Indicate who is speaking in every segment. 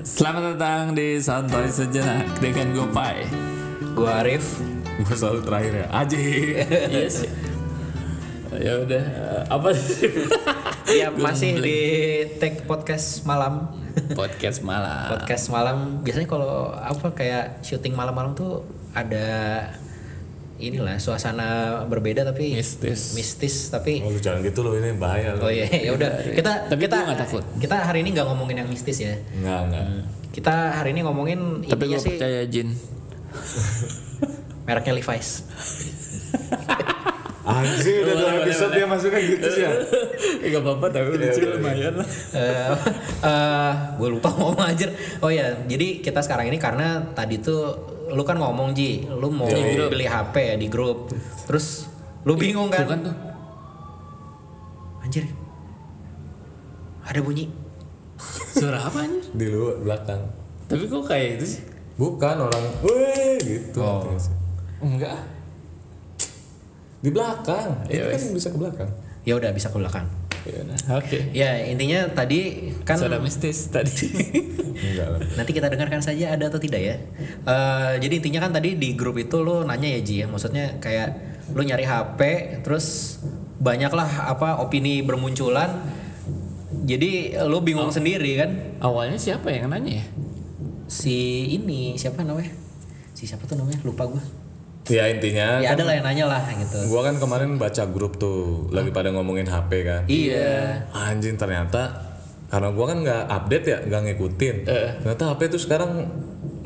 Speaker 1: Selamat datang di Santai Sejenak dengan Gopai
Speaker 2: Gua Arif.
Speaker 1: Gue selalu terakhir ya, Aji
Speaker 3: Iya sih.
Speaker 1: Ya udah, eh, apa sih?
Speaker 2: Ya masih di tag podcast malam.
Speaker 1: Podcast malam
Speaker 2: Podcast malam biasanya kalau apa kayak syuting malam-malam tuh ada inilah suasana berbeda tapi
Speaker 1: Mistis.
Speaker 2: mistis tapi
Speaker 3: Oh, lu jangan gitu loh ini bahaya
Speaker 2: oh
Speaker 3: loh.
Speaker 2: iya ya udah kita
Speaker 1: Tapi
Speaker 2: kita
Speaker 1: gua nggak takut.
Speaker 2: kita hari ini nggak ngomongin yang mistis ya
Speaker 3: Enggak, enggak.
Speaker 2: kita hari ini ngomongin
Speaker 1: Tapi
Speaker 2: ininya
Speaker 1: gue
Speaker 2: sih
Speaker 1: percaya Jin
Speaker 2: mereknya Levi's
Speaker 3: Anjir udah dua
Speaker 1: Boleh,
Speaker 3: episode
Speaker 1: boleh,
Speaker 3: dia masuknya gitu sih ya.
Speaker 1: Gak Iya. apa-apa tapi lucu lumayan lah
Speaker 2: gue Eh, lupa ngomong aja oh ya jadi kita sekarang ini karena tadi tuh lu kan ngomong ji lu mau beli HP ya di grup terus lu bingung kan
Speaker 1: Bukan tuh
Speaker 2: anjir ada bunyi
Speaker 1: Suara apa anjir?
Speaker 3: Di luar belakang.
Speaker 1: Tapi kok kayak itu sih?
Speaker 3: Bukan orang, weh gitu. Terus.
Speaker 1: Enggak
Speaker 3: Di belakang.
Speaker 1: Ya,
Speaker 3: Itu kan bisa ke belakang.
Speaker 2: ya udah bisa ke belakang
Speaker 3: Ya, nah.
Speaker 1: Oke
Speaker 2: ya intinya tadi kan
Speaker 1: Suara mistis tadi
Speaker 3: Enggak lah.
Speaker 2: nanti kita dengarkan saja ada atau tidak ya Eh, jadi intinya kan tadi di grup itu lu nanya ya ji ya maksudnya kayak lu nyari HP terus banyaklah apa opini bermunculan jadi lu bingung sendiri kan
Speaker 1: Awalnya siapa yang nanya ya?
Speaker 2: si ini siapa namanya si siapa tuh namanya lupa gue
Speaker 3: Ya intinya
Speaker 2: ya ada lah yang nanya lah gitu
Speaker 3: gua kan kemarin baca grup tuh lagi pada ngomongin HP kan.
Speaker 2: iya
Speaker 3: Anjing ternyata karena gua kan nggak update ya, nggak ngikutin. Ternyata HP itu sekarang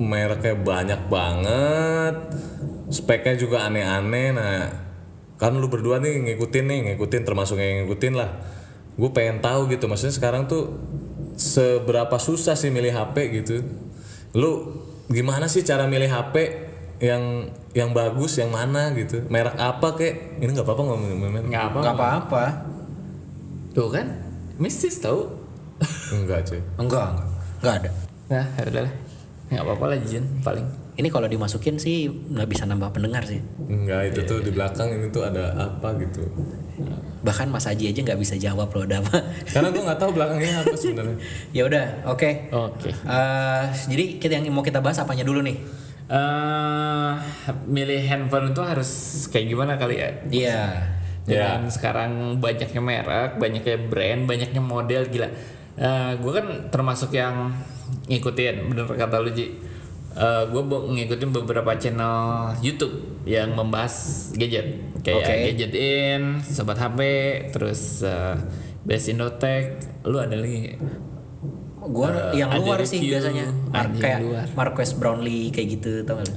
Speaker 3: mereknya banyak banget, speknya juga aneh-aneh. Nah, kan lu berdua nih ngikutin nih, ngikutin termasuk yang ngikutin lah. Gue pengen tahu gitu, maksudnya sekarang tuh seberapa susah sih milih HP gitu. Lu gimana sih cara milih HP yang yang bagus, yang mana gitu, merek apa kek? Ini nggak apa-apa ngomongin merek.
Speaker 1: Nggak apa
Speaker 2: nggak apa-apa
Speaker 1: Tuh kan? Mistis tau
Speaker 3: Enggak cuy.
Speaker 2: enggak enggak enggak ada
Speaker 1: Nah ya udah lah Nggak apa-apa lah Jin paling
Speaker 2: ini kalau dimasukin sih nggak bisa nambah pendengar sih
Speaker 3: Enggak, itu tuh di belakang ini tuh ada apa gitu.
Speaker 2: bahkan Mas Aji aja nggak bisa jawab loh udah apa
Speaker 3: Karena gue nggak tahu belakangnya apa sebenarnya.
Speaker 2: ya udah oke
Speaker 1: Oke
Speaker 2: Eh, jadi kita yang mau kita bahas apanya dulu nih
Speaker 1: eh milih handphone itu harus kayak gimana kali ya?
Speaker 2: iya
Speaker 3: Ya.
Speaker 1: Dengan sekarang banyaknya merek, banyaknya brand, banyaknya model gila. gue kan termasuk yang ngikutin, bener kata lu Ji. gue ngikutin beberapa channel YouTube yang membahas gadget, kayak
Speaker 2: Oke.
Speaker 1: gadget in, sobat HP, terus eh, Best Indotech. Lu ada lagi?
Speaker 2: gua yang
Speaker 1: Eh, ada
Speaker 2: luar sih
Speaker 1: review,
Speaker 2: biasanya
Speaker 1: ada
Speaker 2: Mar-
Speaker 1: yang
Speaker 2: kayak
Speaker 1: luar.
Speaker 2: Marquez Brownlee kayak gitu tau gak lu?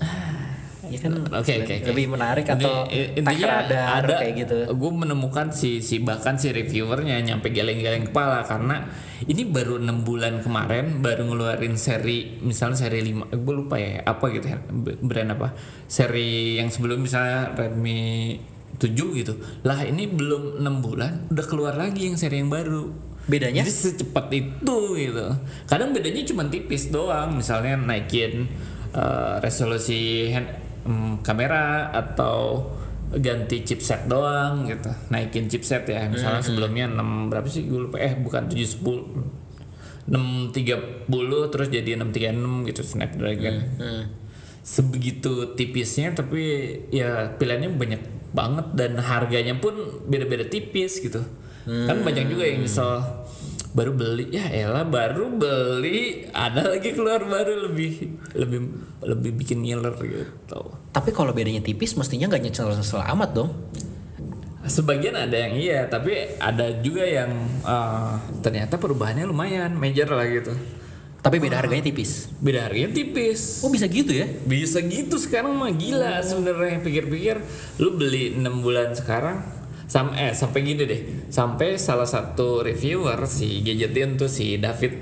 Speaker 2: ya kan
Speaker 1: Oke oke oke.
Speaker 2: lebih menarik atau
Speaker 1: Ini-
Speaker 2: tak radar kayak gitu
Speaker 1: Gue menemukan si si bahkan si reviewernya nyampe geleng-geleng kepala karena ini baru enam bulan kemarin baru ngeluarin seri misalnya seri 5 gue lupa ya apa gitu ya, brand apa seri yang sebelum misalnya Redmi 7 gitu lah ini belum enam bulan udah keluar lagi yang seri yang baru
Speaker 2: bedanya
Speaker 1: jadi secepat itu gitu. Kadang bedanya cuma tipis doang. Misalnya naikin eh, resolusi hand, mm, kamera atau ganti chipset doang gitu. Naikin chipset ya. Misalnya sebelumnya 6 berapa sih gue lupa eh bukan 710. 630 terus jadi 636 gitu Snapdragon. Sebegitu tipisnya tapi ya pilihannya banyak banget dan harganya pun beda-beda tipis gitu. Kan banyak juga yang misal baru beli ya elah baru beli ada lagi keluar baru lebih lebih lebih bikin ngiler gitu.
Speaker 2: tapi kalau bedanya tipis mestinya nggak nyesel-nyesel amat dong
Speaker 1: Sebagian ada yang iya, tapi ada juga yang eh, ternyata perubahannya lumayan major lah gitu. Ah.
Speaker 2: tapi beda harganya tipis
Speaker 1: Beda harganya tipis.
Speaker 2: oh bisa gitu ya
Speaker 1: bisa gitu sekarang mah gila sebenarnya pikir-pikir lu beli enam bulan sekarang sam eh sampai gini deh sampai salah satu reviewer si gadgetin tuh si David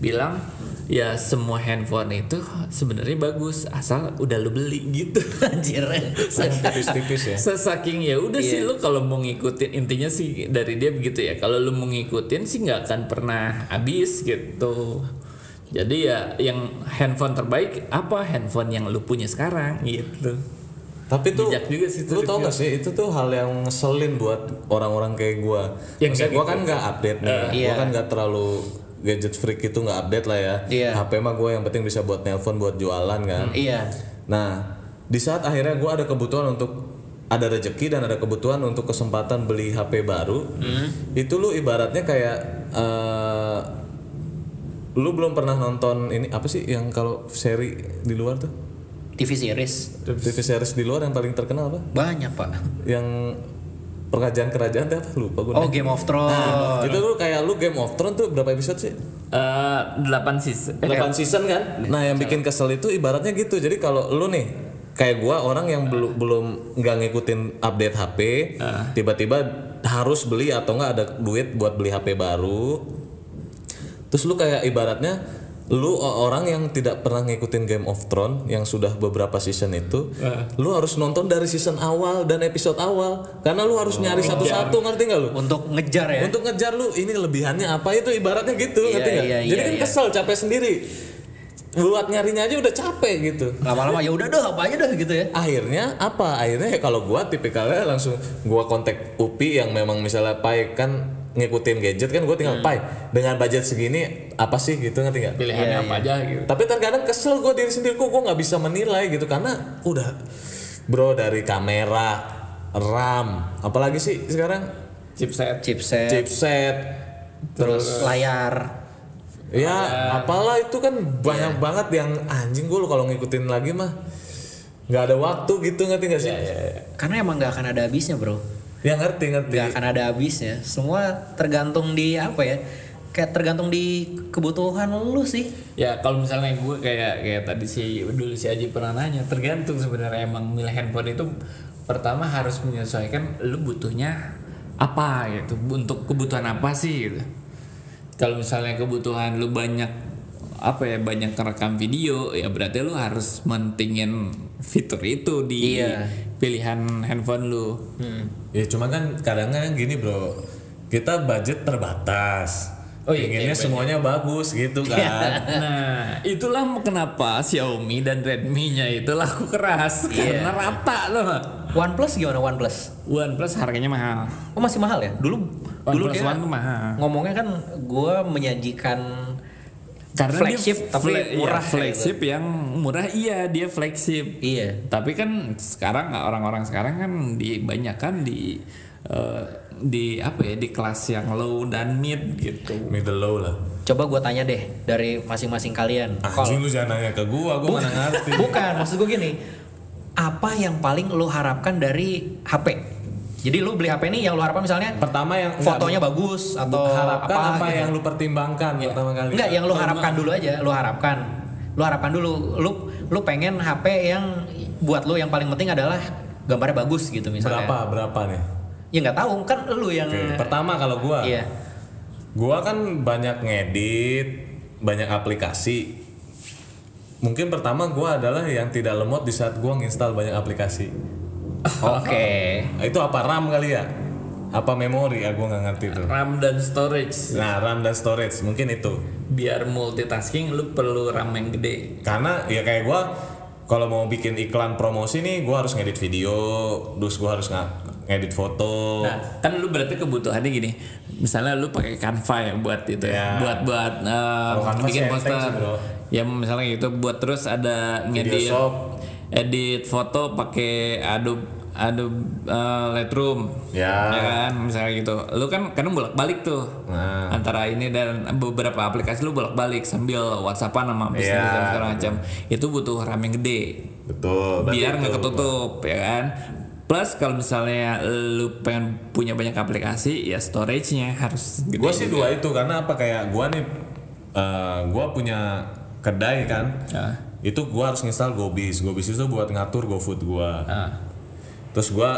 Speaker 1: bilang ya semua handphone itu sebenarnya bagus asal udah lu beli gitu
Speaker 2: anjir
Speaker 3: Tipis-tipis ya.
Speaker 1: Sesaking ya udah sih lu kalau mau ngikutin intinya sih dari dia begitu ya. Kalau lu mau ngikutin sih nggak akan pernah habis gitu. Jadi ya yang handphone terbaik apa handphone yang lu punya sekarang gitu.
Speaker 3: Tapi tuh,
Speaker 1: Bijak juga sih itu
Speaker 3: lu tau gak sih itu tuh hal yang ngeselin buat orang-orang kayak gua.
Speaker 1: Yang
Speaker 3: Maksudnya
Speaker 1: kayak
Speaker 3: gua kan nggak update nih, gua
Speaker 2: iya.
Speaker 3: kan nggak terlalu gadget freak itu nggak update lah ya.
Speaker 2: Iya.
Speaker 3: HP mah gue yang penting bisa buat nelpon, buat jualan kan.
Speaker 2: Iya.
Speaker 3: Nah, di saat akhirnya gue ada kebutuhan untuk ada rezeki dan ada kebutuhan untuk kesempatan beli HP baru, itu lu ibaratnya kayak eh, lu belum pernah nonton ini apa sih yang kalau seri di luar tuh
Speaker 2: TV series
Speaker 3: TV series di luar yang paling terkenal apa?
Speaker 2: banyak pak.
Speaker 3: Yang kerajaan-kerajaan tuh apa? Lupa gue.
Speaker 2: Oh Game of Thrones.
Speaker 3: Nah, itu lu kayak lu Game of Thrones tuh berapa episode sih?
Speaker 1: Eh, delapan sis. eh,
Speaker 3: 8 season kan? Nah, yang bikin kesel itu ibaratnya gitu. Jadi kalau lu nih kayak gua orang yang belum belum nggak ngikutin update HP, Ah. tiba-tiba harus beli atau nggak ada duit buat beli HP baru. Terus lu kayak ibaratnya lu o- orang yang tidak pernah ngikutin Game of Thrones yang sudah beberapa season itu, lu harus nonton dari season awal dan episode awal karena lu harus nyari satu-satu ngerti nggak lu?
Speaker 2: Untuk ngejar ya.
Speaker 3: Untuk ngejar lu ini kelebihannya apa itu ibaratnya gitu
Speaker 2: Iya,
Speaker 3: ngerti nggak?
Speaker 2: iya,
Speaker 3: Jadi
Speaker 2: iya,
Speaker 3: kan
Speaker 2: iya.
Speaker 3: kesel capek sendiri. Buat nyarinya aja udah capek gitu.
Speaker 2: Lama-lama ya udah deh apa aja deh gitu ya.
Speaker 3: Akhirnya apa? Akhirnya ya kalau gua tipikalnya langsung gua kontak UPI yang memang misalnya Pai kan ngikutin gadget kan gua
Speaker 2: Hmm.
Speaker 3: tinggal Pai dengan budget segini apa sih gitu ngerti nggak?
Speaker 1: pilihannya apa aja gitu.
Speaker 3: Tapi terkadang kesel gue diri sendiri kok gue nggak bisa menilai gitu karena udah bro dari kamera RAM apalagi sih sekarang
Speaker 1: Chipset.
Speaker 2: Chipset,
Speaker 3: chipset
Speaker 2: terus layar. Iya.
Speaker 3: Ya, apalah itu kan banyak banget yang anjing gue kalau ngikutin lagi mah nggak ada waktu gitu ngerti nggak sih?
Speaker 2: Iya, Karena emang nggak akan ada habisnya bro.
Speaker 3: Ya ngerti ngerti.
Speaker 1: Iya.
Speaker 2: Nggak akan ada habisnya. Semua tergantung di apa ya? Kayak tergantung di kebutuhan lu sih.
Speaker 1: Ya kalau misalnya gue kayak kayak tadi si dulu si Aji pernah nanya tergantung sebenarnya emang milih handphone itu pertama harus menyesuaikan lu butuhnya apa gitu untuk kebutuhan apa sih gitu. Kalau misalnya kebutuhan lu banyak apa ya banyak rekam video ya berarti lu harus mentingin fitur itu di
Speaker 2: Iya.
Speaker 1: pilihan handphone lu.
Speaker 3: Ya cuma kan kadang-kadang gini bro, kita budget terbatas.
Speaker 1: Oh iya,
Speaker 3: Pengennya semuanya bagus gitu
Speaker 2: Iya.
Speaker 3: kan.
Speaker 1: Nah, itulah kenapa Xiaomi dan Redmi-nya itu laku keras karena rata loh.
Speaker 2: OnePlus gimana OnePlus?
Speaker 1: OnePlus harganya mahal.
Speaker 2: Oh masih mahal ya? Dulu dulu
Speaker 1: OnePlus
Speaker 2: dia
Speaker 1: One tuh mahal.
Speaker 2: ngomongnya kan gue menyajikan
Speaker 1: Karena
Speaker 2: flagship
Speaker 1: dia
Speaker 2: tapi
Speaker 1: fla- iya,
Speaker 2: murah gitu.
Speaker 1: flagship yang murah iya dia flagship.
Speaker 2: Iya.
Speaker 1: Tapi kan sekarang orang-orang sekarang kan dibanyakan di eh, di apa ya di kelas yang low dan mid gitu.
Speaker 3: Middle low lah.
Speaker 2: Coba gue tanya deh dari masing-masing kalian. Kalau
Speaker 3: Anjing lu jangan nanya ke gua, gua mana ngerti.
Speaker 2: Bukan, maksud gue gini. Apa yang paling lo harapkan dari HP? Jadi lu beli HP ini yang lo harapkan misalnya
Speaker 3: Pertama yang
Speaker 2: fotonya bagus atau
Speaker 3: harapkan apa,
Speaker 2: gitu. Iya.
Speaker 3: yang lu pertimbangkan pertama kali.
Speaker 2: Enggak, yang lo harapkan dulu aja, lo harapkan. Lo harapkan dulu, lu lu pengen HP yang buat lo yang paling penting adalah gambarnya bagus gitu misalnya.
Speaker 3: berapa berapa nih?
Speaker 2: Ya nggak tahu, kan lu yang
Speaker 3: Oke, Pertama kalau gua.
Speaker 2: Iya.
Speaker 3: Gua kan banyak ngedit, banyak aplikasi. Mungkin pertama gua adalah yang tidak lemot di saat gua nginstal banyak aplikasi.
Speaker 2: Oke.
Speaker 3: Nah, Itu apa RAM kali ya? Apa memori ya gua nggak ngerti tuh.
Speaker 1: RAM dan storage
Speaker 3: Nah, RAM dan storage mungkin itu.
Speaker 1: biar multitasking lu perlu RAM yang gede.
Speaker 3: Karena ya kayak gua kalau mau bikin iklan promosi nih gua harus ngedit video, terus gua harus nge- ngedit foto.
Speaker 1: Nah, kan lu berarti kebutuhannya gini. Misalnya lu pakai Canva ya buat itu
Speaker 3: Ya.
Speaker 1: ya. Buat buat eh,
Speaker 3: Kalau Canva
Speaker 1: bikin
Speaker 3: sih enteng
Speaker 1: poster.
Speaker 3: sih, bro.
Speaker 1: Ya misalnya gitu buat terus ada ngedit
Speaker 3: shop.
Speaker 1: edit foto pakai Adobe Adobe eh, Lightroom.
Speaker 3: Ya.
Speaker 1: kan misalnya gitu. Lu kan kadang bolak-balik tuh.
Speaker 3: Nah.
Speaker 1: Antara ini dan beberapa aplikasi lu bolak-balik sambil WhatsApp-an sama bisnis
Speaker 3: Ya.
Speaker 1: dan segala macam. Itu butuh RAM yang gede
Speaker 3: Betul. berarti
Speaker 1: biar nggak
Speaker 3: itu.
Speaker 1: ketutup ya kan plus kalau misalnya lu pengen punya banyak aplikasi ya storage-nya harus gede
Speaker 3: Gue sih dua itu karena apa kayak gue nih, eh gue punya kedai kan,
Speaker 1: Ah.
Speaker 3: itu gue harus install GoBis, GoBis itu buat ngatur GoFood gue.
Speaker 1: Ah.
Speaker 3: Terus gue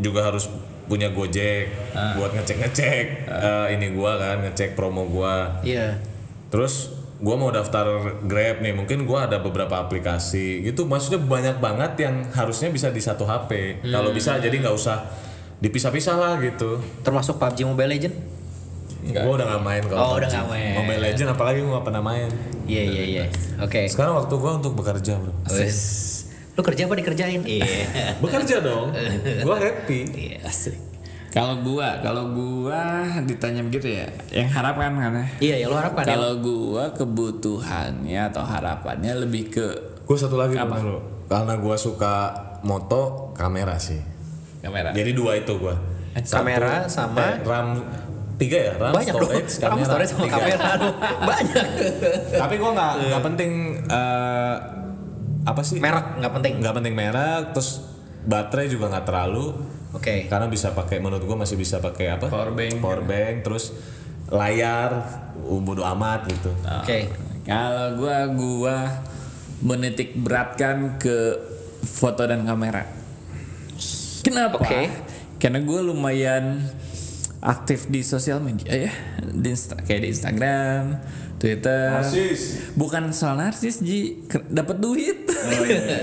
Speaker 3: juga harus punya Gojek
Speaker 2: Ah.
Speaker 3: buat ngecek-ngecek eh, ini gue kan, ngecek promo gue.
Speaker 2: Iya.
Speaker 3: Terus gue mau daftar Grab nih, mungkin gue ada beberapa aplikasi gitu, maksudnya banyak banget yang harusnya bisa di satu HP. Kalau
Speaker 2: Hmm.
Speaker 3: bisa jadi nggak usah dipisah-pisah lah gitu.
Speaker 2: Termasuk PUBG Mobile Legend?
Speaker 3: Gue udah gak main kalau
Speaker 2: Oh, udah
Speaker 3: PUBG.
Speaker 2: nggak main.
Speaker 3: Mobile Legend apalagi gue gak pernah main.
Speaker 2: Iya, iya, iya. Oke.
Speaker 3: Sekarang waktu gue untuk bekerja bro.
Speaker 2: Wes. Lu kerja apa dikerjain? Iya.
Speaker 3: Bekerja dong. Gue happy.
Speaker 2: Iya, asik.
Speaker 1: Kalau gua, kalau gua ditanya begitu ya, yang harapkan kan ya.
Speaker 2: Iya, ya lu harapkan ya.
Speaker 1: Kalau gua kebutuhannya atau harapannya lebih ke
Speaker 3: Gue satu lagi dulu. Karena gue suka moto kamera sih.
Speaker 1: kamera.
Speaker 3: Jadi dua itu gue.
Speaker 2: Kamera sama-
Speaker 3: RAM tiga ya RAM
Speaker 2: Banyak dong.
Speaker 3: storage
Speaker 2: Kamu
Speaker 3: kamera.
Speaker 2: storage sama
Speaker 3: Tiga.
Speaker 2: kamera lu. Banyak.
Speaker 3: Tapi gue nggak nggak penting eh, apa sih?
Speaker 2: Merek nggak penting.
Speaker 3: Nggak penting merek. Terus baterai juga nggak terlalu.
Speaker 2: Oke.
Speaker 3: Karena bisa pakai menurut gue masih bisa pakai apa?
Speaker 1: Power bank.
Speaker 3: Power bank. Terus layar uh, bodo amat gitu.
Speaker 2: Oke.
Speaker 1: Kalau gua gua menitik beratkan ke foto dan kamera. Kenapa?
Speaker 2: Oke.
Speaker 1: Karena gue lumayan aktif di sosial media ya, di Insta- kayak di Instagram, Twitter. Bukan soal narsis, Ji, Ke- dapat duit.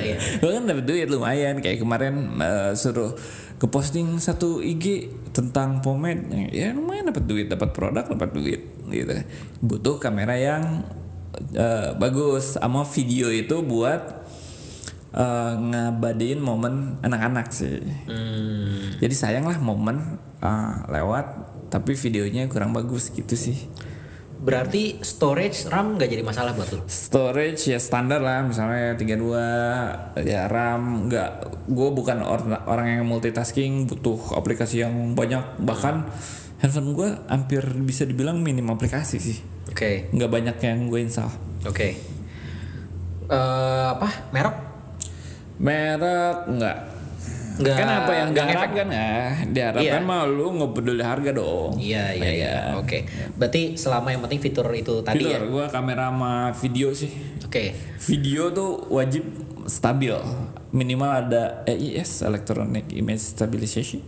Speaker 2: iya.
Speaker 1: gue kan dapat duit lumayan. Kayak kemarin eh, suruh ke posting satu IG tentang pomade, ya lumayan dapat duit, dapat produk, dapat duit gitu. Butuh kamera yang eh, bagus sama video itu buat eh, ngabadiin momen anak-anak sih.
Speaker 2: Hmm.
Speaker 1: Jadi sayang lah momen ah, lewat tapi videonya kurang bagus gitu sih.
Speaker 2: Berarti storage RAM nggak jadi masalah buat lu.
Speaker 1: Storage ya standar lah misalnya 32 ya RAM nggak gue bukan or- orang yang multitasking butuh aplikasi yang banyak bahkan handphone gue hampir bisa dibilang minim aplikasi sih
Speaker 2: Oke.
Speaker 1: nggak banyak yang gue install
Speaker 2: Oke. Eh, apa? Merek?
Speaker 1: merek nggak
Speaker 2: Nggak-
Speaker 1: kan apa yang
Speaker 2: nggak ngefek.
Speaker 1: diharapkan ya diharapkan
Speaker 2: Iya.
Speaker 1: mah lu nggak peduli harga dong
Speaker 2: Iya, iya,
Speaker 1: Ya
Speaker 2: iya.
Speaker 1: kan?
Speaker 2: Oke. Berarti selama yang penting fitur itu tadi
Speaker 1: Fitur,
Speaker 2: ya.
Speaker 1: gua kamera sama video sih.
Speaker 2: Oke.
Speaker 1: Video tuh wajib stabil. Minimal ada EIS Electronic Image Stabilization.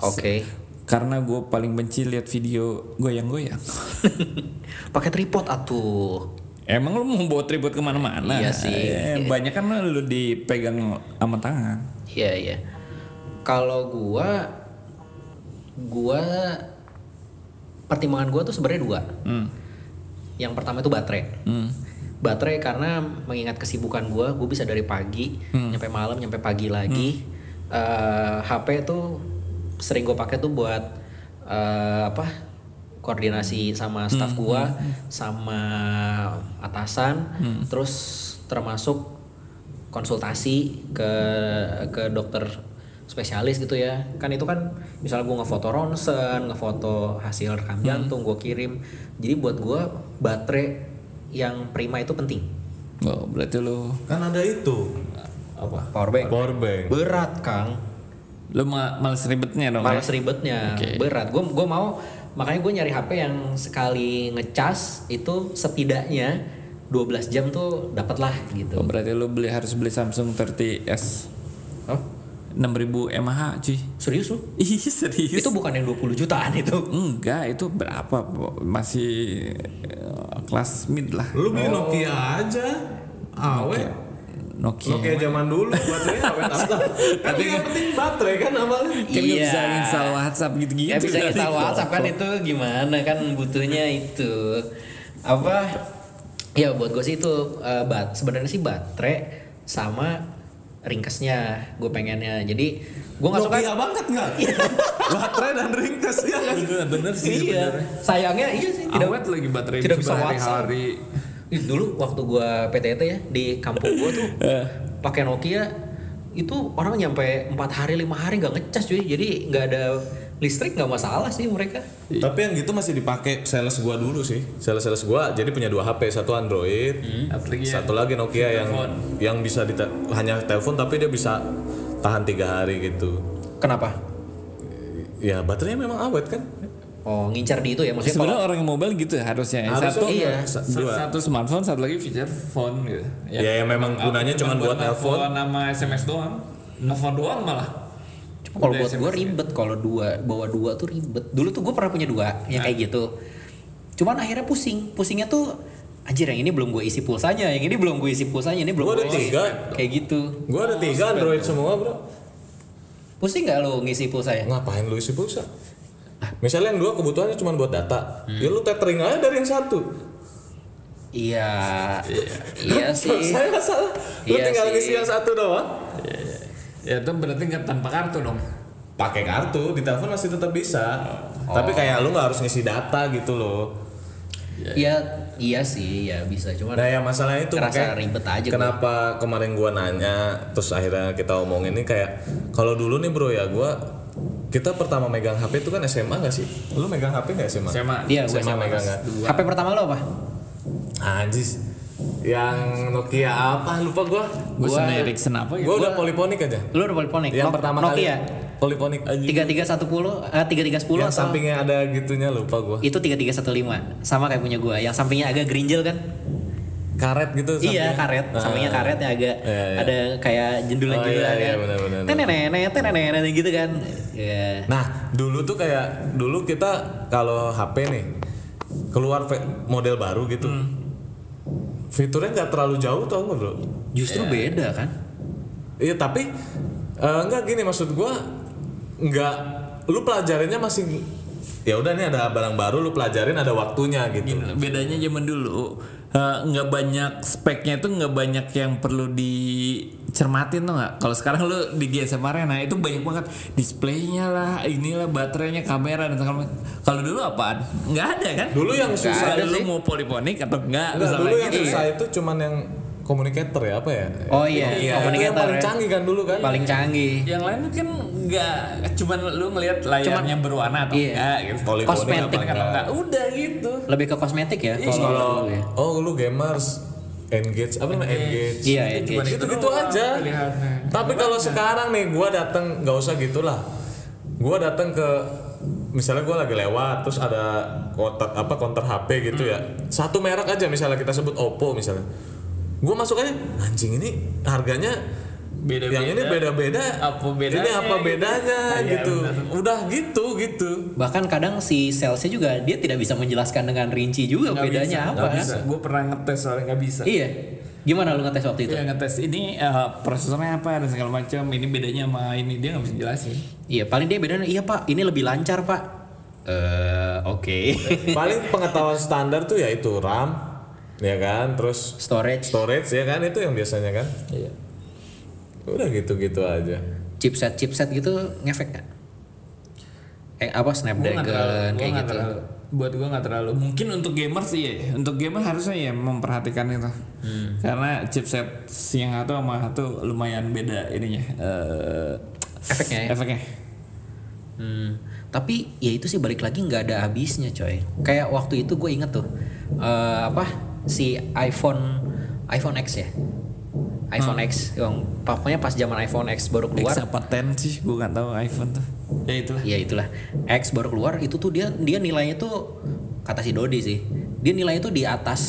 Speaker 2: Oke.
Speaker 1: Karena gue paling benci lihat video goyang-goyang.
Speaker 2: Pakai tripod atuh.
Speaker 1: Emang lu mau bawa tripod kemana-mana?
Speaker 2: Iya sih.
Speaker 1: Eh, banyak kan lu dipegang sama tangan.
Speaker 2: Iya iya. Kalau gua, gua pertimbangan gua tuh sebenarnya dua. Yang pertama itu baterai.
Speaker 1: Hmm.
Speaker 2: Baterai karena mengingat kesibukan gua, gua bisa dari pagi nyampe malam nyampe pagi lagi. Eh, HP tuh sering gue pakai tuh buat eh, apa? Koordinasi sama staff gua, sama atasan, terus termasuk konsultasi ke ke dokter spesialis gitu ya kan itu kan misalnya gue ngefoto ronsen ngefoto hasil
Speaker 1: Hmm.
Speaker 2: rekam jantung gue kirim jadi buat gue baterai yang prima itu penting
Speaker 1: Oh, berarti lu
Speaker 3: Kan ada itu
Speaker 1: apa?
Speaker 2: powerbank
Speaker 3: power bank.
Speaker 2: berat kang
Speaker 1: Lu ma- males ribetnya dong.
Speaker 2: males
Speaker 1: ya?
Speaker 2: ribetnya
Speaker 1: Oke.
Speaker 2: berat gue gue mau makanya gue nyari HP yang sekali ngecas itu setidaknya 12 jam tuh dapat lah
Speaker 1: Oh,
Speaker 2: gitu
Speaker 1: berarti lu beli harus beli Samsung 30S.
Speaker 2: oh
Speaker 1: 6000 mAh cuy.
Speaker 2: serius lu
Speaker 1: Ih serius.
Speaker 2: itu bukan yang 20 jutaan itu
Speaker 1: Enggak, itu berapa? Bo? Masih eh, kelas mid lah.
Speaker 3: Lu beli Nokia aja. Awet.
Speaker 1: Nokia.
Speaker 3: Nokia zaman dulu baterainya awet apa? Tapi Kan yang penting baterai kan awalnya.
Speaker 1: Kan nggak
Speaker 2: Iya.
Speaker 1: bisa install WhatsApp gitu-gitu.
Speaker 2: Ya bisa
Speaker 1: dari
Speaker 2: install
Speaker 1: foto.
Speaker 2: WhatsApp kan itu gimana kan butuhnya itu apa ya buat gue sih itu eh, bat sebenarnya sih baterai sama ringkasnya gue pengennya jadi gue nggak suka
Speaker 3: Nokia banget nggak?
Speaker 1: Iya.
Speaker 3: baterai dan ringkas ya kan?
Speaker 1: Bener, bener sih
Speaker 2: iya
Speaker 1: sebenarnya.
Speaker 2: sayangnya iya sih tidak
Speaker 1: Awet lagi baterai
Speaker 2: tidak
Speaker 1: bisa
Speaker 2: bisa WhatsApp
Speaker 1: hari-hari.
Speaker 2: Ih, dulu waktu gua PTT ya di kampung gua tuh
Speaker 1: Eh.
Speaker 2: pakai Nokia itu orang nyampe empat hari lima hari nggak ngecas cuy jadi nggak ada listrik nggak masalah sih mereka
Speaker 3: Tapi yang gitu masih dipakai sales gua dulu sih. Sales-sales gua jadi punya dua HP, satu Android,
Speaker 1: Apalagi ya.
Speaker 2: Iya.
Speaker 3: satu lagi Nokia yang yang bisa dite- hanya telepon tapi dia bisa tahan tiga hari gitu.
Speaker 2: kenapa
Speaker 3: Ya baterainya memang awet kan?
Speaker 2: Oh, ngincar di itu ya maksudnya
Speaker 1: Sebenarnya orang yang mobile gitu harusnya. ya.
Speaker 3: Harusnya
Speaker 1: satu,
Speaker 2: iya.
Speaker 3: Sa-
Speaker 1: sa-
Speaker 3: dua.
Speaker 1: satu smartphone, satu lagi feature phone gitu.
Speaker 3: Ya, ya, memang gunanya cuma buat nelpon.
Speaker 1: nama SMS doang. Nelfon doang malah.
Speaker 2: Cuma kalau
Speaker 1: Udah
Speaker 2: buat gue
Speaker 3: ya?
Speaker 1: SMS.
Speaker 2: ribet kalau dua bawa dua tuh ribet. Dulu tuh gue pernah punya dua
Speaker 3: Nah.
Speaker 2: yang kayak gitu. Cuman akhirnya pusing, pusingnya tuh anjir yang ini belum gue isi pulsanya, yang ini belum gue isi pulsanya, ini belum
Speaker 3: Gua ada
Speaker 2: gua isi.
Speaker 3: tiga.
Speaker 2: Kayak gitu.
Speaker 3: Gua ada tiga Android semua bro.
Speaker 2: Pusing nggak lo ngisi ya? pulsanya?
Speaker 3: Ngapain lu isi pulsa? Misalnya yang dua kebutuhannya cuma buat data,
Speaker 2: Hmm.
Speaker 3: ya lu tethering aja dari yang satu.
Speaker 2: Iya. iya sih.
Speaker 3: Saya nggak salah. Lu
Speaker 2: Iya
Speaker 3: tinggal
Speaker 2: sih.
Speaker 3: ngisi yang satu doang.
Speaker 1: Ya itu berarti nggak tanpa kartu dong.
Speaker 3: pakai kartu di telepon masih tetap bisa
Speaker 2: Oh.
Speaker 3: tapi kayak lu nggak harus ngisi data gitu loh
Speaker 2: Iya, iya sih, ya bisa. Cuman
Speaker 3: Nah yang masalahnya itu
Speaker 2: Kerasa
Speaker 3: makanya
Speaker 2: ribet aja gua.
Speaker 3: Kenapa kemarin gua nanya Terus akhirnya kita omongin ini kayak Kalau dulu nih bro ya gua Kita pertama megang HP itu kan SMA gak sih? Lu megang HP gak SMA?
Speaker 1: Sama
Speaker 2: Iya, gue
Speaker 3: SMA,
Speaker 2: sama
Speaker 3: megang gak?
Speaker 2: HP pertama lo apa?
Speaker 3: Anjis Yang Nokia apa lupa gua
Speaker 1: gue sama Erickson apa ya?
Speaker 3: Gua udah poliponik aja
Speaker 2: Lo udah poliponik.
Speaker 3: Yang
Speaker 2: Nok-
Speaker 3: pertama kali
Speaker 2: Nokia.
Speaker 3: Poliponik
Speaker 2: Tiga tiga satu puluh, eh, tiga tiga sepuluh atau
Speaker 3: Yang
Speaker 2: Iya.
Speaker 3: sampingnya ada gitunya lupa gua
Speaker 2: itu tiga tiga satu lima, sama kayak punya gue. Yang sampingnya agak gerinjel kan?
Speaker 3: Karet gitu
Speaker 2: Iya
Speaker 3: sampingnya.
Speaker 2: karet, sampingnya karet yang agak
Speaker 3: Iya, iya.
Speaker 2: ada kayak jendulan-jendulan
Speaker 3: Oh, iya, iya,
Speaker 2: kan.
Speaker 3: benar-benar.
Speaker 2: Tenenenet, tenenenet gitu kan. Iya.
Speaker 3: Nah, dulu tuh kayak dulu kita kalau HP nih keluar ve- model baru gitu. Fiturnya nggak terlalu jauh tau nggak bro?
Speaker 2: Justru beda kan?
Speaker 3: Iya tapi eh, nggak gini maksud gua nggak lu pelajarinnya masih ya udah nih ada barang baru lu pelajarin ada waktunya gitu.
Speaker 1: bedanya zaman dulu eh, nggak banyak speknya itu nggak banyak yang perlu dicermatin tuh nggak kalau sekarang lu di GSM Arena itu banyak banget displaynya lah inilah baterainya kamera dan segala macam. kalau dulu apaan nggak ada kan
Speaker 3: Dulu yang susah
Speaker 1: Nggak ada lu mau poliponik atau enggak
Speaker 3: nggak, Nah, dulu yang
Speaker 1: gitu.
Speaker 3: susah itu cuman yang communicator ya apa ya?
Speaker 2: Oh iya,
Speaker 3: Iya, itu yang
Speaker 2: communicator
Speaker 3: paling
Speaker 2: ya.
Speaker 3: canggih kan dulu kan?
Speaker 2: Paling canggih.
Speaker 1: yang lain kan nggak cuman lu ngelihat layarnya berwarna atau
Speaker 2: Iya.
Speaker 1: enggak gitu
Speaker 3: Volley bowling
Speaker 2: Kosmetik
Speaker 3: apa
Speaker 1: atau enggak udah gitu
Speaker 2: Lebih ke kosmetik ya
Speaker 1: Iya,
Speaker 3: Kalau
Speaker 2: kalau dulu ya.
Speaker 3: oh lu gamers engage apa namanya engage.
Speaker 2: Iya,
Speaker 1: Cuman
Speaker 2: engage.
Speaker 3: Itu gitu aja.
Speaker 1: pilihannya.
Speaker 3: Tapi kalau sekarang nih gua datang nggak usah gitulah. Gua datang ke misalnya gua lagi lewat terus ada kotak apa konter HP gitu ya.
Speaker 1: Hmm.
Speaker 3: Satu merek aja misalnya kita sebut Oppo misalnya. Gua masuk aja anjing ini harganya
Speaker 1: Beda-beda.
Speaker 3: yang ini beda-beda
Speaker 1: Apa
Speaker 3: ini
Speaker 1: bedanya
Speaker 3: apa
Speaker 1: gitu.
Speaker 3: bedanya
Speaker 1: Iya,
Speaker 3: gitu udah gitu gitu
Speaker 2: Bahkan kadang si salesnya juga dia tidak bisa menjelaskan dengan rinci juga bedanya apa kan?
Speaker 1: gue pernah ngetes soalnya nggak bisa
Speaker 2: Iya. Gimana lu ngetes waktu itu?
Speaker 1: Iya ngetes ini eh, prosesornya apa dan segala macam. Ini bedanya sama ini dia nggak bisa jelasin.
Speaker 2: Iya, paling dia bedanya iya Pak, ini lebih lancar Pak. Eh, oke.
Speaker 3: paling pengetahuan standar tuh ya itu RAM ya kan terus
Speaker 2: Storage,
Speaker 3: storage ya kan itu yang biasanya kan
Speaker 1: Iya.
Speaker 3: udah gitu-gitu aja
Speaker 2: chipset chipset gitu ngefek nggak? Eh
Speaker 1: Gue
Speaker 2: apa
Speaker 1: nggak
Speaker 2: Snapdragon
Speaker 1: terlalu, gua
Speaker 2: kayak
Speaker 1: nggak
Speaker 2: gitu?
Speaker 1: terlalu. Buat gue nggak terlalu. Mungkin untuk gamer sih ya. Untuk gamer harusnya ya memperhatikan itu.
Speaker 2: Hmm.
Speaker 1: Karena chipset yang satu sama satu lumayan beda ininya. eh,
Speaker 2: Efeknya ya.
Speaker 1: Efeknya.
Speaker 2: Hmm. Tapi ya itu sih balik lagi nggak ada habisnya coy. Kayak waktu itu gue inget tuh eh, apa si iPhone iPhone X ya? iPhone
Speaker 1: Hmm.
Speaker 2: X yang pokoknya pas zaman iPhone X baru keluar.
Speaker 1: X apa 10 sih? Gue nggak tahu iPhone tuh. Ya itu.
Speaker 2: ya itulah X baru keluar itu tuh dia dia nilainya tuh kata si Dodi sih dia nilainya tuh di atas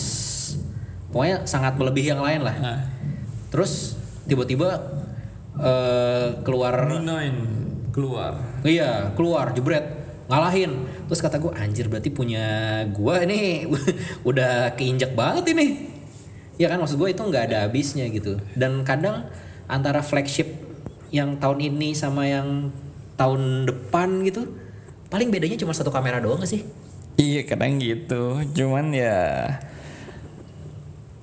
Speaker 2: pokoknya sangat melebihi yang lain lah
Speaker 1: Nah.
Speaker 2: terus tiba-tiba eh, keluar
Speaker 1: Mi 9 keluar.
Speaker 2: iya keluar jebret ngalahin terus kata gue anjir berarti punya gua ini udah keinjak banget ini ya kan maksud gue itu nggak ada habisnya gitu dan kadang antara flagship yang tahun ini sama yang tahun depan gitu paling bedanya cuma satu kamera doang gak sih
Speaker 1: Iya kadang gitu. Cuman ya.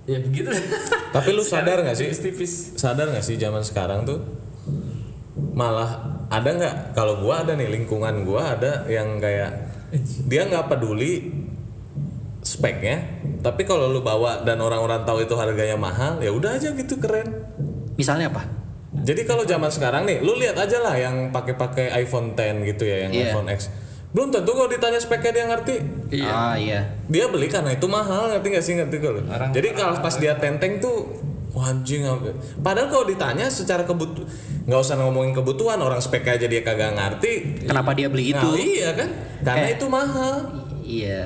Speaker 1: Ya begitu.
Speaker 3: tapi lu sadar nggak sih
Speaker 1: Tipis-tipis.
Speaker 3: sadar nggak sih zaman sekarang tuh malah ada nggak kalau gua ada nih lingkungan gua ada yang kayak dia nggak peduli speknya tapi kalau lu bawa dan orang-orang tahu itu harganya mahal ya udah aja gitu keren
Speaker 2: misalnya apa
Speaker 3: Jadi kalau zaman sekarang nih, lu lihat aja lah yang pakai-pakai iPhone 10 gitu ya, yang
Speaker 2: Iya.
Speaker 3: iPhone X. Belum tentu kalau ditanya speknya dia ngerti.
Speaker 1: Iya.
Speaker 2: ah iya
Speaker 3: Dia beli karena itu mahal, ngerti gak sih ngerti gak lu? Jadi kalau pas dia tenteng tuh wah, anjing apa- Padahal kalau ditanya secara kebutuhan nggak usah ngomongin kebutuhan orang speknya aja dia kagak ngerti.
Speaker 2: kenapa dia beli itu Eh.
Speaker 3: Nah, iya kan? Karena itu mahal.
Speaker 2: iya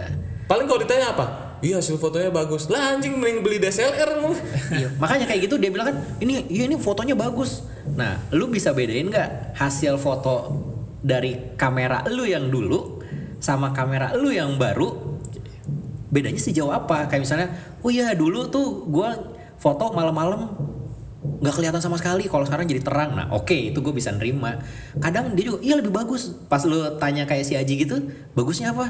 Speaker 3: Paling kalau ditanya apa? Iya hasil fotonya bagus. Lah anjing mending beli DSLR lu.
Speaker 2: iya makanya kayak gitu dia bilang kan ini iya ini fotonya bagus nah lu bisa bedain nggak hasil foto dari kamera lu yang dulu sama kamera lu yang baru bedanya sejauh apa kayak misalnya oh iya dulu tuh gua foto malam-malam nggak kelihatan sama sekali kalau sekarang jadi terang nah oke itu gue bisa nerima kadang dia juga iya lebih bagus pas lu tanya kayak si Aji gitu bagusnya apa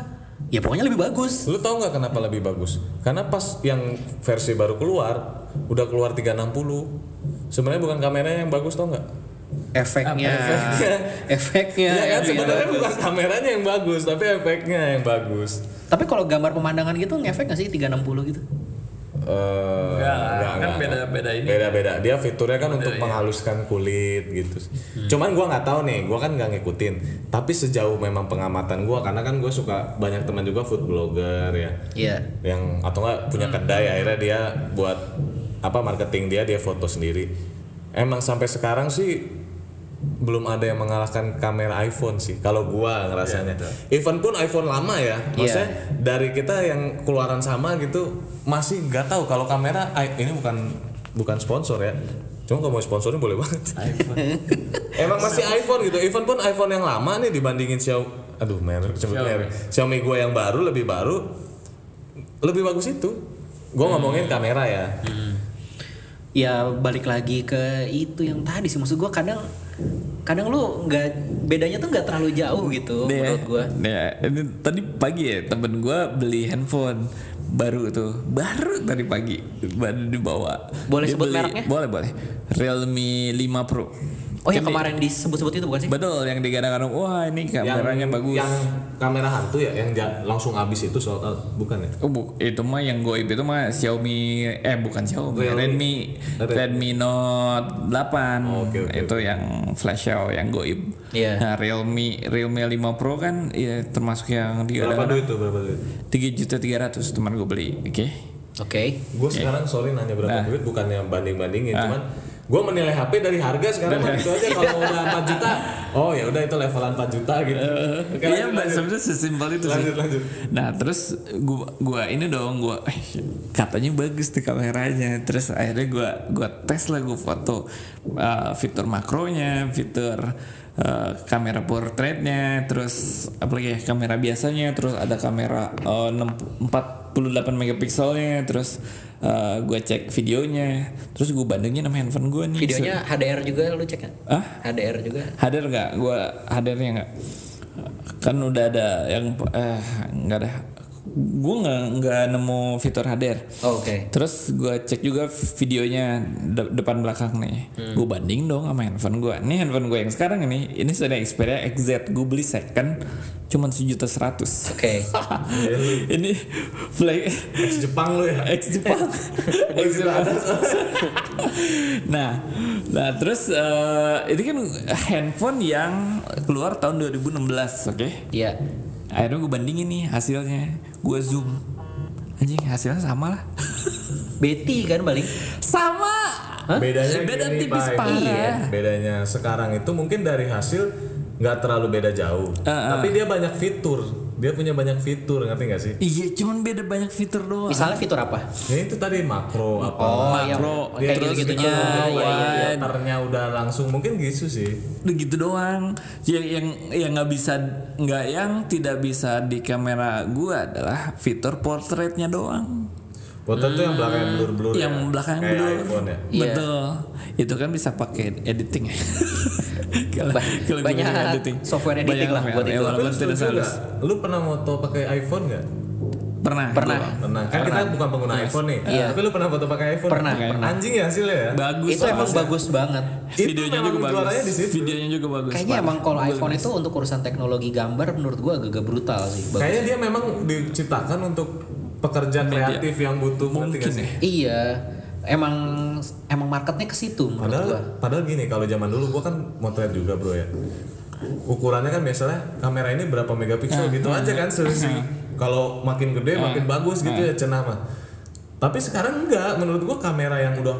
Speaker 2: ya pokoknya lebih bagus
Speaker 3: Lu tau nggak kenapa lebih bagus? Karena pas yang versi baru keluar, udah keluar 360. Sebenarnya bukan kameranya yang bagus tau nggak?
Speaker 2: efeknya
Speaker 3: Efeknya.
Speaker 2: efeknya
Speaker 3: Iya kan
Speaker 2: yang
Speaker 3: sebenarnya
Speaker 2: bagus.
Speaker 3: bukan kameranya yang bagus, tapi efeknya yang bagus.
Speaker 2: tapi kalau gambar pemandangan gitu ngefek nggak sih 360 gitu
Speaker 3: Eh,
Speaker 4: Enggak lah, kan beda-beda ini.
Speaker 3: Beda-beda. Dia fiturnya kan untuk menghaluskan kulit gitu. Cuman gua nggak tahu nih, gua kan nggak ngikutin. Tapi sejauh memang pengamatan gua karena kan gue suka banyak teman juga food blogger ya.
Speaker 2: iya
Speaker 3: yang atau nggak punya kedai akhirnya dia buat apa marketing dia dia foto sendiri emang sampai sekarang sih belum ada yang mengalahkan kamera iPhone sih kalau gua ngerasanya even pun iPhone lama ya maksudnya dari kita yang keluaran sama gitu masih nggak tahu kalau kamera i- ini bukan bukan sponsor ya cuma kalau mau sponsornya boleh banget emang masih iPhone gitu even pun iPhone yang lama nih dibandingin Xiaomi aduh merek sebut merek Xiaomi gua yang baru lebih baru lebih bagus itu gue
Speaker 1: Hmm.
Speaker 3: ngomongin kamera ya
Speaker 2: ya balik lagi ke itu yang tadi sih maksud gua kadang kadang lu nggak bedanya tuh nggak terlalu jauh gitu
Speaker 1: Nih ya,
Speaker 2: menurut gua
Speaker 1: nih ya, ini tadi pagi ya temen gue beli handphone baru tuh, baru tadi pagi baru dibawa.
Speaker 2: Boleh sebut
Speaker 1: beli-
Speaker 2: mereknya?
Speaker 1: Boleh boleh. Realme 5 Pro.
Speaker 2: oh yang
Speaker 1: Jadi-
Speaker 2: kemarin disebut-sebut itu bukan sih
Speaker 1: Betul yang digadang-gadang. Wah ini kameranya bagus.
Speaker 3: yang kamera hantu ya yang ja- langsung habis itu soal oh, bukan ya
Speaker 1: Oh, bu, itu mah yang goib itu mah Xiaomi eh bukan Xiaomi
Speaker 3: Realme.
Speaker 1: Redmi
Speaker 3: Redmi.
Speaker 1: Redmi Note 8
Speaker 3: Oh, oke, oke,
Speaker 1: itu yang flash sale yang goib.
Speaker 2: Iya.
Speaker 1: Nah Realme Realme 5 Pro kan ya termasuk yang
Speaker 3: berapa
Speaker 1: digadang
Speaker 3: duit tuh berapa duit
Speaker 1: tiga juta tiga ratus teman gue beli, oke?
Speaker 2: oke
Speaker 3: gue
Speaker 1: Iya.
Speaker 3: sekarang sorry nanya
Speaker 1: Nah.
Speaker 3: berapa duit bukannya banding bandingin cuman gue menilai HP dari harga sekarang mah gitu aja kalau udah 4 juta oh ya udah itu levelan 4 juta gitu Oke,
Speaker 1: Iya,
Speaker 3: lanjut,
Speaker 1: mbak
Speaker 3: lanjut.
Speaker 1: sebenarnya sesimpel itu sih.
Speaker 3: Lanjut, lanjut.
Speaker 1: Nah terus gua gua ini dong gua eh, katanya bagus tuh kameranya. Terus akhirnya gua gua tes lah gua foto uh, fitur makronya, fitur uh, kamera portraitnya, terus apalagi ya kamera biasanya, terus ada kamera uh, 6, 48 megapikselnya, terus uh, gua cek videonya, terus gua bandingin sama handphone gua nih.
Speaker 2: videonya HDR juga lu cek kan
Speaker 1: Hah?
Speaker 2: HDR juga
Speaker 1: hadir nggak gue hadirnya nggak kan udah ada yang eh nggak ada gue nggak nggak nemu fitur hadir
Speaker 2: Oh, oke
Speaker 1: terus gue cek juga videonya de- depan belakang nih gue banding dong sama handphone gue ini handphone gue yang sekarang ini ini sudah Xperia XZ gue beli second cuman sejuta seratus
Speaker 2: oke
Speaker 1: ini flag
Speaker 3: Ex Jepang lu ya
Speaker 1: ex Jepang ex Jepang nah nah terus eh, ini kan handphone yang keluar tahun 2016 oke
Speaker 2: iya
Speaker 1: akhirnya gue bandingin nih hasilnya gue zoom anjing hasilnya sama lah
Speaker 2: Betty kan balik
Speaker 1: sama
Speaker 3: bedanya
Speaker 1: beda
Speaker 3: gini,
Speaker 1: tipis
Speaker 3: Pak. kan.
Speaker 1: parah
Speaker 2: Iya.
Speaker 3: bedanya sekarang itu mungkin dari hasil nggak terlalu beda jauh tapi dia banyak fitur dia punya banyak fitur ngerti nggak sih
Speaker 1: iya cuman beda banyak fitur doang
Speaker 2: misalnya fitur apa
Speaker 3: Ya itu tadi makro apa
Speaker 2: oh iya
Speaker 1: makro
Speaker 2: kayak
Speaker 1: terus gitu,
Speaker 2: gitu-gitunya iya iya iya.
Speaker 1: wide.
Speaker 3: filternya udah langsung mungkin gitu sih.
Speaker 1: Udah gitu doang yang yang yang nggak bisa nggak yang tidak bisa di kamera gue adalah fitur portraitnya doang
Speaker 3: Foto tuh yang belakang blur blur
Speaker 1: yang belakang
Speaker 3: Kayak
Speaker 1: blur
Speaker 3: iPhone ya.
Speaker 2: Iya.
Speaker 1: betul itu kan bisa pakai editing ya kalau
Speaker 2: Ba-
Speaker 1: kalau gue
Speaker 2: banyak
Speaker 1: bilang editing
Speaker 2: software editing
Speaker 1: Banyak
Speaker 2: lah buat
Speaker 1: ya,
Speaker 2: itu.
Speaker 1: walaupun
Speaker 3: Terus
Speaker 1: tidak
Speaker 3: lu juga,
Speaker 1: halus
Speaker 3: lu pernah foto pakai iPhone nggak?
Speaker 1: pernah
Speaker 2: Pernah.
Speaker 1: gua.
Speaker 3: Pernah. Kan kita bukan pengguna iPhone nih.
Speaker 2: Iya.
Speaker 3: Tapi lu pernah foto pakai iPhone?
Speaker 2: Pernah,
Speaker 3: Pakai
Speaker 2: pernah.
Speaker 3: Anjing ya hasilnya ya.
Speaker 1: bagus
Speaker 2: itu emang
Speaker 1: soalnya.
Speaker 2: bagus banget
Speaker 3: Itu
Speaker 1: videonya
Speaker 3: memang
Speaker 1: juga
Speaker 3: juaranya
Speaker 1: bagus
Speaker 3: di situ.
Speaker 1: videonya juga bagus
Speaker 2: kayaknya
Speaker 1: parah.
Speaker 2: emang kalau iPhone itu untuk urusan teknologi gambar menurut gua agak-agak brutal sih Bagus.
Speaker 3: Kayaknya dia memang diciptakan untuk pekerja kreatif yang butuh ngerti nggak
Speaker 1: mungkin
Speaker 3: sih?
Speaker 1: ya
Speaker 2: Iya, emang emang marketnya ke situ menurut
Speaker 3: Padahal,
Speaker 2: gua.
Speaker 3: padahal gini kalau zaman dulu gua kan motret juga bro ya. Ukurannya kan biasanya kamera ini berapa megapiksel
Speaker 2: Ah,
Speaker 3: gitu aja kan selisih. Kalau makin gede makin
Speaker 2: ah.
Speaker 3: bagus gitu ya cenah mah. Tapi sekarang enggak menurut gua kamera yang udah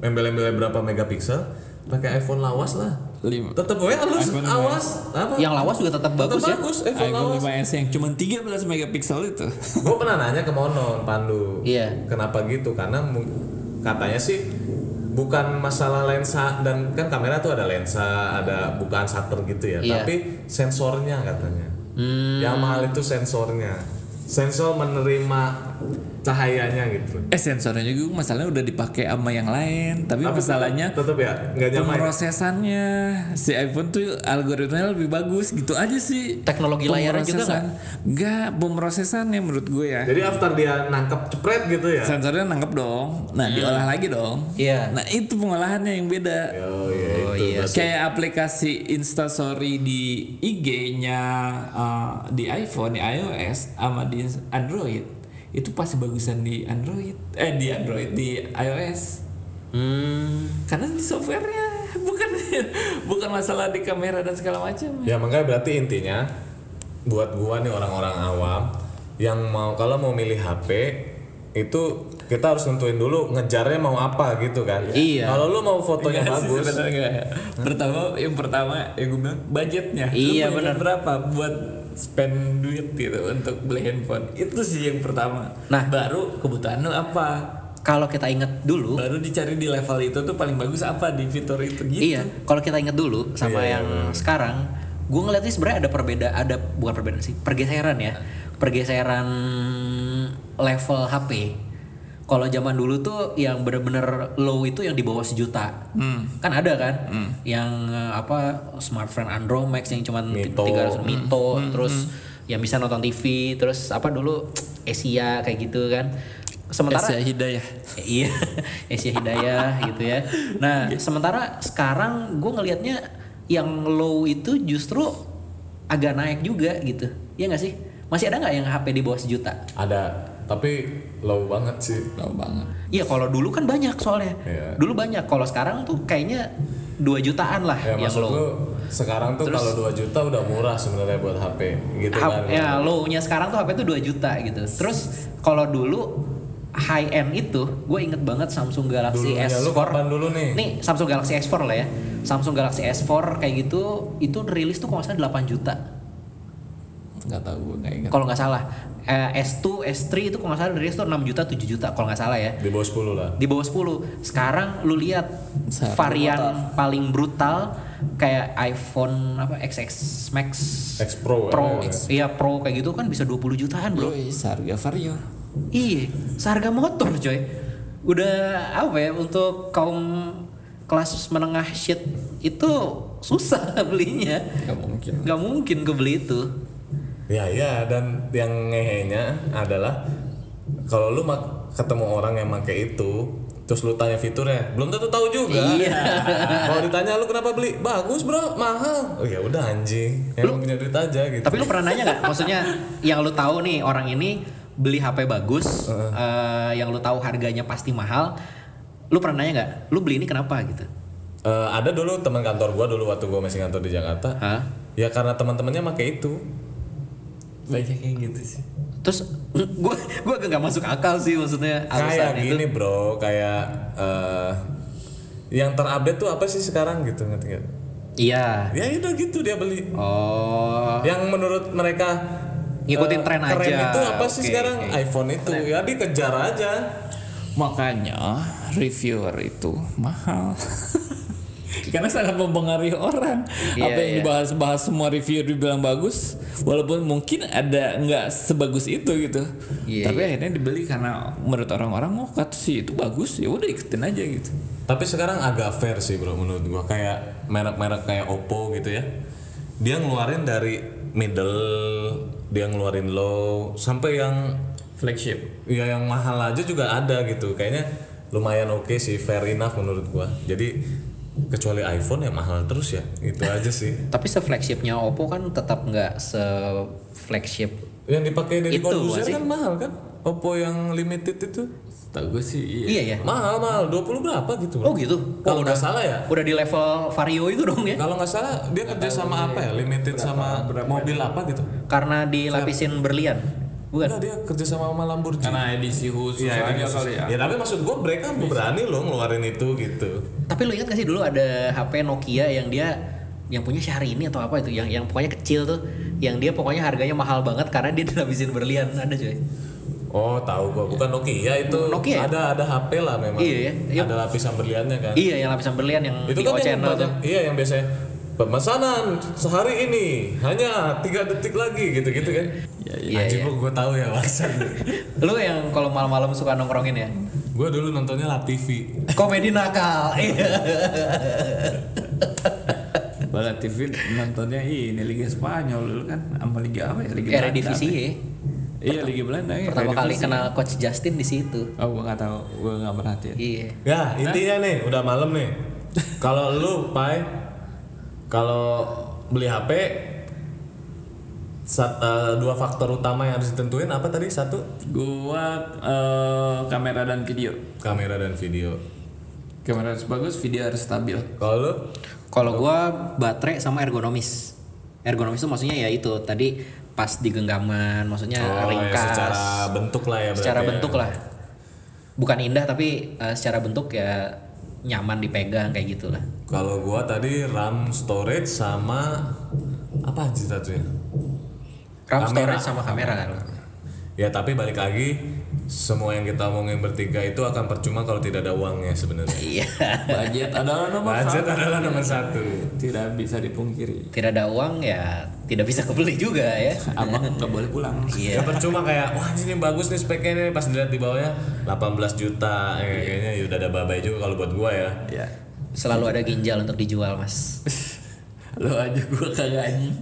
Speaker 3: embel-embel berapa megapiksel pakai iPhone lawas lah.
Speaker 1: Lima.
Speaker 3: Tetap gue halus awas apa?
Speaker 2: Yang lawas juga tetap
Speaker 3: Tetep
Speaker 2: bagus ya.
Speaker 3: bagus iPhone
Speaker 1: iPhone
Speaker 3: lawas.
Speaker 1: 5s yang cuma 13 megapiksel itu
Speaker 3: gue pernah nanya ke Monon Pandu
Speaker 2: Iya.
Speaker 3: kenapa gitu karena mu- katanya sih bukan masalah lensa dan kan kamera tuh ada lensa ada bukaan shutter gitu
Speaker 2: Iya.
Speaker 3: ya
Speaker 2: Hmm.
Speaker 3: tapi sensornya katanya yang mahal itu sensornya sensor menerima cahayanya gitu
Speaker 1: eh sensornya juga masalahnya udah dipakai sama yang lain tapi, masalahnya
Speaker 3: tetap ya nggak nyamain
Speaker 1: Pemrosesannya si iPhone tuh algoritmanya lebih bagus gitu aja sih.
Speaker 2: Teknologi layarnya juga
Speaker 1: Pemrosesan. Nggak, pemrosesannya menurut gue ya.
Speaker 3: jadi after dia nangkep cepret gitu ya
Speaker 1: Sensornya nangkep dong. Nah, diolah lagi dong.
Speaker 2: Hmm. Iya.
Speaker 1: Nah, itu pengolahannya yang beda.
Speaker 3: oh iya
Speaker 2: Oh
Speaker 3: itu betul,
Speaker 2: Iya.
Speaker 3: betul.
Speaker 1: kayak aplikasi Instastory di IG-nya uh, di iPhone, di iOS sama di Android itu pasti bagusan di Android eh di Android di iOS
Speaker 2: Hmm.
Speaker 1: karena di softwarenya bukan bukan masalah di kamera dan segala macam
Speaker 3: Ya makanya berarti intinya buat gua nih orang-orang awam yang mau kalau mau milih HP itu kita harus nentuin dulu ngejarnya mau apa gitu kan.
Speaker 2: Iya.
Speaker 3: Kalau lu mau fotonya
Speaker 1: Nggak sih,
Speaker 3: bagus,
Speaker 1: sebenarnya nggak ya. pertama yang pertama yang gue bilang budgetnya Lu
Speaker 2: Hmm. Iya,
Speaker 1: punya
Speaker 2: benar.
Speaker 1: berapa buat spend duit gitu untuk beli handphone itu sih yang pertama
Speaker 2: Nah.
Speaker 1: baru kebutuhan lu apa
Speaker 2: Kalau kita inget dulu,
Speaker 1: baru dicari di level itu tuh paling bagus apa di fitur itu Nah, gitu
Speaker 2: Iya, kalau kita inget dulu sama yang sekarang, gue ngeliatnya sebenarnya ada perbeda, ada bukan perbedaan sih, pergeseran ya, pergeseran level HP. Kalau zaman dulu tuh yang bener-bener low itu yang di bawah sejuta,
Speaker 1: Hmm.
Speaker 2: kan ada kan,
Speaker 3: Hmm.
Speaker 2: yang eh, apa smartphone Android Max yang cuman
Speaker 3: Mito. Hmm.
Speaker 2: 300 Mito, terus yang bisa nonton TV, terus apa dulu Asia kayak gitu kan. Sementara
Speaker 1: hidayah
Speaker 2: iya Asia Hidayah gitu ya nah sementara sekarang gue ngelihatnya yang low itu justru agak naik juga gitu ya nggak sih masih ada nggak yang HP di bawah sejuta
Speaker 3: ada tapi low banget sih.
Speaker 1: low banget
Speaker 2: Iya kalau dulu kan banyak soalnya
Speaker 3: Iya.
Speaker 2: dulu banyak kalau sekarang tuh kayaknya 2 jutaan lah
Speaker 3: Ya
Speaker 2: yang Iya,
Speaker 3: maksud
Speaker 2: low
Speaker 3: lu sekarang tuh kalau 2 juta udah murah sebenarnya buat HP gitu
Speaker 2: Hap-
Speaker 3: kan.
Speaker 2: ya low-nya sekarang tuh HP itu 2 juta gitu. Terus kalau dulu high end itu gue inget banget Samsung Galaxy
Speaker 3: Dulunya
Speaker 2: S4.
Speaker 3: lu kapan dulu nih?
Speaker 2: Nih Samsung Galaxy S4 lah ya. Samsung Galaxy S4 kayak gitu itu rilis tuh kalau nggak salah 8 juta.
Speaker 1: nggak tahu gue nggak
Speaker 3: Ya.
Speaker 1: ingat
Speaker 2: Kalau nggak salah Eh, S2, S3 itu kalau nggak salah rilis tuh 6 juta 7 juta kalau nggak salah ya.
Speaker 3: Di bawah 10 lah.
Speaker 2: Di bawah 10. Sekarang lu lihat
Speaker 1: Satu
Speaker 2: varian
Speaker 1: motor.
Speaker 2: paling brutal kayak iPhone apa XX Max
Speaker 3: X Pro.
Speaker 2: Pro,
Speaker 3: ya.
Speaker 2: iya Pro kayak gitu kan bisa 20 jutaan,
Speaker 1: bro
Speaker 2: Bro.
Speaker 1: harga vario
Speaker 2: Iya, seharga motor coy. Udah apa ya untuk kaum kelas menengah shit itu susah belinya.
Speaker 1: nggak mungkin
Speaker 2: Gak mungkin kebeli itu.
Speaker 3: Ya ya dan yang ngehenya adalah kalau lu mak- ketemu orang yang pakai itu terus lu tanya fiturnya belum tentu tahu juga.
Speaker 2: Iya.
Speaker 3: kalau ditanya lu kenapa beli? Bagus, Bro, mahal. Oh ya udah anjing. Yang punya duit aja gitu.
Speaker 2: Tapi lu pernah nanya nggak? Maksudnya yang lu tahu nih orang ini beli HP bagus, eh, yang lu tahu harganya pasti mahal. Lu pernah nanya nggak? Lu beli ini kenapa gitu?
Speaker 3: Eh, ada dulu teman kantor gua dulu waktu gua masih kantor di Jakarta.
Speaker 2: Hah?
Speaker 3: Ya karena teman-temannya pakai itu.
Speaker 1: banyak yang gitu sih
Speaker 2: Terus gue gue agak nggak masuk akal sih maksudnya
Speaker 3: Kayak gitu.
Speaker 2: alasan itu.
Speaker 3: gini, Bro, kayak eh, yang terupdate tuh apa sih sekarang gitu ngerti nggak?
Speaker 2: Iya.
Speaker 3: Ya udah gitu dia beli.
Speaker 2: Oh.
Speaker 3: yang menurut mereka
Speaker 2: Ngikutin
Speaker 3: eh,
Speaker 2: tren
Speaker 3: keren
Speaker 2: aja.
Speaker 3: itu apa sih
Speaker 2: Oke,
Speaker 3: sekarang iPhone itu ya dikejar aja
Speaker 1: makanya reviewer itu mahal karena sangat mempengaruhi orang
Speaker 2: Iya,
Speaker 1: apa yang
Speaker 2: iya.
Speaker 1: dibahas-bahas semua review dibilang bagus walaupun mungkin ada nggak sebagus itu gitu
Speaker 2: Iya,
Speaker 1: tapi akhirnya dibeli karena menurut orang-orang oh kata sih itu bagus ya udah ikutin aja gitu
Speaker 3: tapi sekarang agak fair sih bro menurut gua kayak merek-merek kayak Oppo gitu ya dia ngeluarin dari middle dia ngeluarin low sampai yang
Speaker 1: flagship
Speaker 3: ya yang mahal aja juga ada gitu kayaknya lumayan oke sih fair enough menurut gua jadi kecuali iPhone ya mahal terus ya itu aja sih
Speaker 2: Tapi se-flagshipnya Oppo kan tetap nggak se-flagship.
Speaker 3: yang dipakai dari
Speaker 2: Itu,
Speaker 3: Corbuzier
Speaker 2: masih.
Speaker 3: kan mahal kan Oppo yang limited itu
Speaker 1: tau gue sih iya.
Speaker 2: Iya ya.
Speaker 3: Eh, mahal mahal 20 berapa gitu
Speaker 2: Oh
Speaker 3: bro
Speaker 2: gitu.
Speaker 3: kalau nggak salah ya
Speaker 2: Udah di level Vario itu dong ya.
Speaker 3: kalau nggak salah dia kerja sama apa ya limited sama mobil apa gitu
Speaker 2: Karena dilapisin berlian. Bukan.
Speaker 3: Enggak dia kerja sama sama Lamborghini
Speaker 5: Kan
Speaker 1: karena edisi khusus
Speaker 3: ya,
Speaker 1: aja
Speaker 3: ini
Speaker 1: kali
Speaker 3: khusus.
Speaker 1: ya
Speaker 3: ya tapi maksud gue mereka berani loh ngeluarin itu gitu
Speaker 2: Tapi lu ingat gak sih dulu ada HP Nokia yang dia yang punya Syahrini atau apa itu yang yang pokoknya kecil tuh yang dia pokoknya harganya mahal banget karena dia dilapisin berlian ada coy
Speaker 3: oh tahu gua bukan Nokia itu
Speaker 2: Nokia ya?
Speaker 3: ada ada HP lah memang
Speaker 2: Iya, ya. Iya.
Speaker 3: ada lapisan berliannya kan
Speaker 2: iya yang lapisan berlian yang
Speaker 3: itu
Speaker 2: di O
Speaker 3: kan yang
Speaker 2: channel tuh
Speaker 3: banyak- iya yang biasanya pemesanan sehari ini hanya tiga detik lagi gitu gitu kan
Speaker 2: iya,
Speaker 3: Anjing,
Speaker 2: iya.
Speaker 3: gua- gua tahu ya Wasan
Speaker 2: lu yang kalau malam-malam suka nongkrongin ya
Speaker 3: gue dulu nontonnya La TV
Speaker 2: komedi nakal iya
Speaker 1: Bala TV nontonnya ini Liga Spanyol dulu kan sama Liga apa ya Liga
Speaker 2: Eredivisie
Speaker 1: Belanda.
Speaker 2: ya
Speaker 1: Iya Liga Belanda ya
Speaker 2: pertama kali kan.
Speaker 1: Eredivisie.
Speaker 2: kenal coach Justin di situ
Speaker 1: Oh gue gak tau, gue gak perhatiin
Speaker 2: iya
Speaker 3: Ya intinya nih udah malam nih Kalau lu, Pai, kalau beli HP sat- eh, dua faktor utama yang harus ditentuin apa tadi? Satu,
Speaker 5: Gua eh, kamera dan video.
Speaker 3: kamera dan video.
Speaker 5: Kamera harus bagus, video harus stabil.
Speaker 3: Kalau lu,
Speaker 2: Kalau gua baterai sama ergonomis. Ergonomis itu maksudnya ya itu tadi pas di genggaman, maksudnya
Speaker 3: Oh, ya,
Speaker 2: ringkas.
Speaker 3: secara bentuk lah ya berarti
Speaker 2: Secara
Speaker 3: ya.
Speaker 2: bentuk lah. Bukan indah tapi eh, secara bentuk ya nyaman dipegang kayak gitulah.
Speaker 3: kalau gua tadi RAM storage sama apa anjir satunya?
Speaker 2: RAM
Speaker 3: Kamera.
Speaker 2: storage sama kamera kan.
Speaker 3: Ya tapi balik lagi semua yang kita omongin bertiga itu akan percuma kalau tidak ada uangnya sebenarnya.
Speaker 2: Iya.
Speaker 5: Budget adalah nomor
Speaker 3: Budget adalah nomor satu.
Speaker 5: tidak bisa dipungkiri.
Speaker 2: Tidak ada uang ya tidak bisa kebeli juga ya.
Speaker 5: Abang nggak boleh pulang.
Speaker 2: Iya.
Speaker 3: Ya percuma kayak wah ini bagus nih speknya nih pas dilihat di bawahnya 18 juta eh, kayaknya ya udah ada babai juga kalau buat gua ya.
Speaker 5: Ya.
Speaker 2: Selalu ada ginjal untuk dijual, Mas.
Speaker 5: Lo aja gua kagak anjing.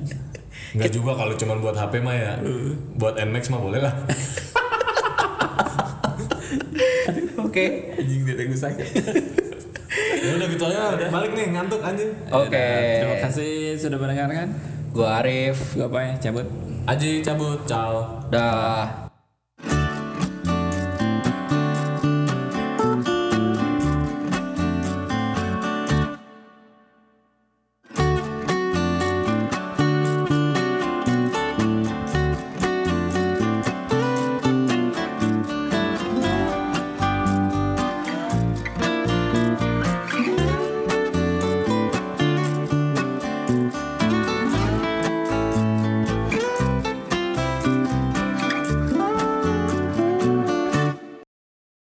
Speaker 3: Enggak juga kalau cuma buat HP mah ya. Buat NMAX mah boleh lah.
Speaker 2: Oke.
Speaker 5: Anjing tidak gue sakit.
Speaker 3: ya udah gitu aja. Balik nih ngantuk anjing.
Speaker 2: Oke.
Speaker 5: Terima kasih sudah mendengarkan.
Speaker 2: Gua Arif.
Speaker 5: Gua apa ya? Cabut.
Speaker 3: Aji cabut. Ciao.
Speaker 2: Dah.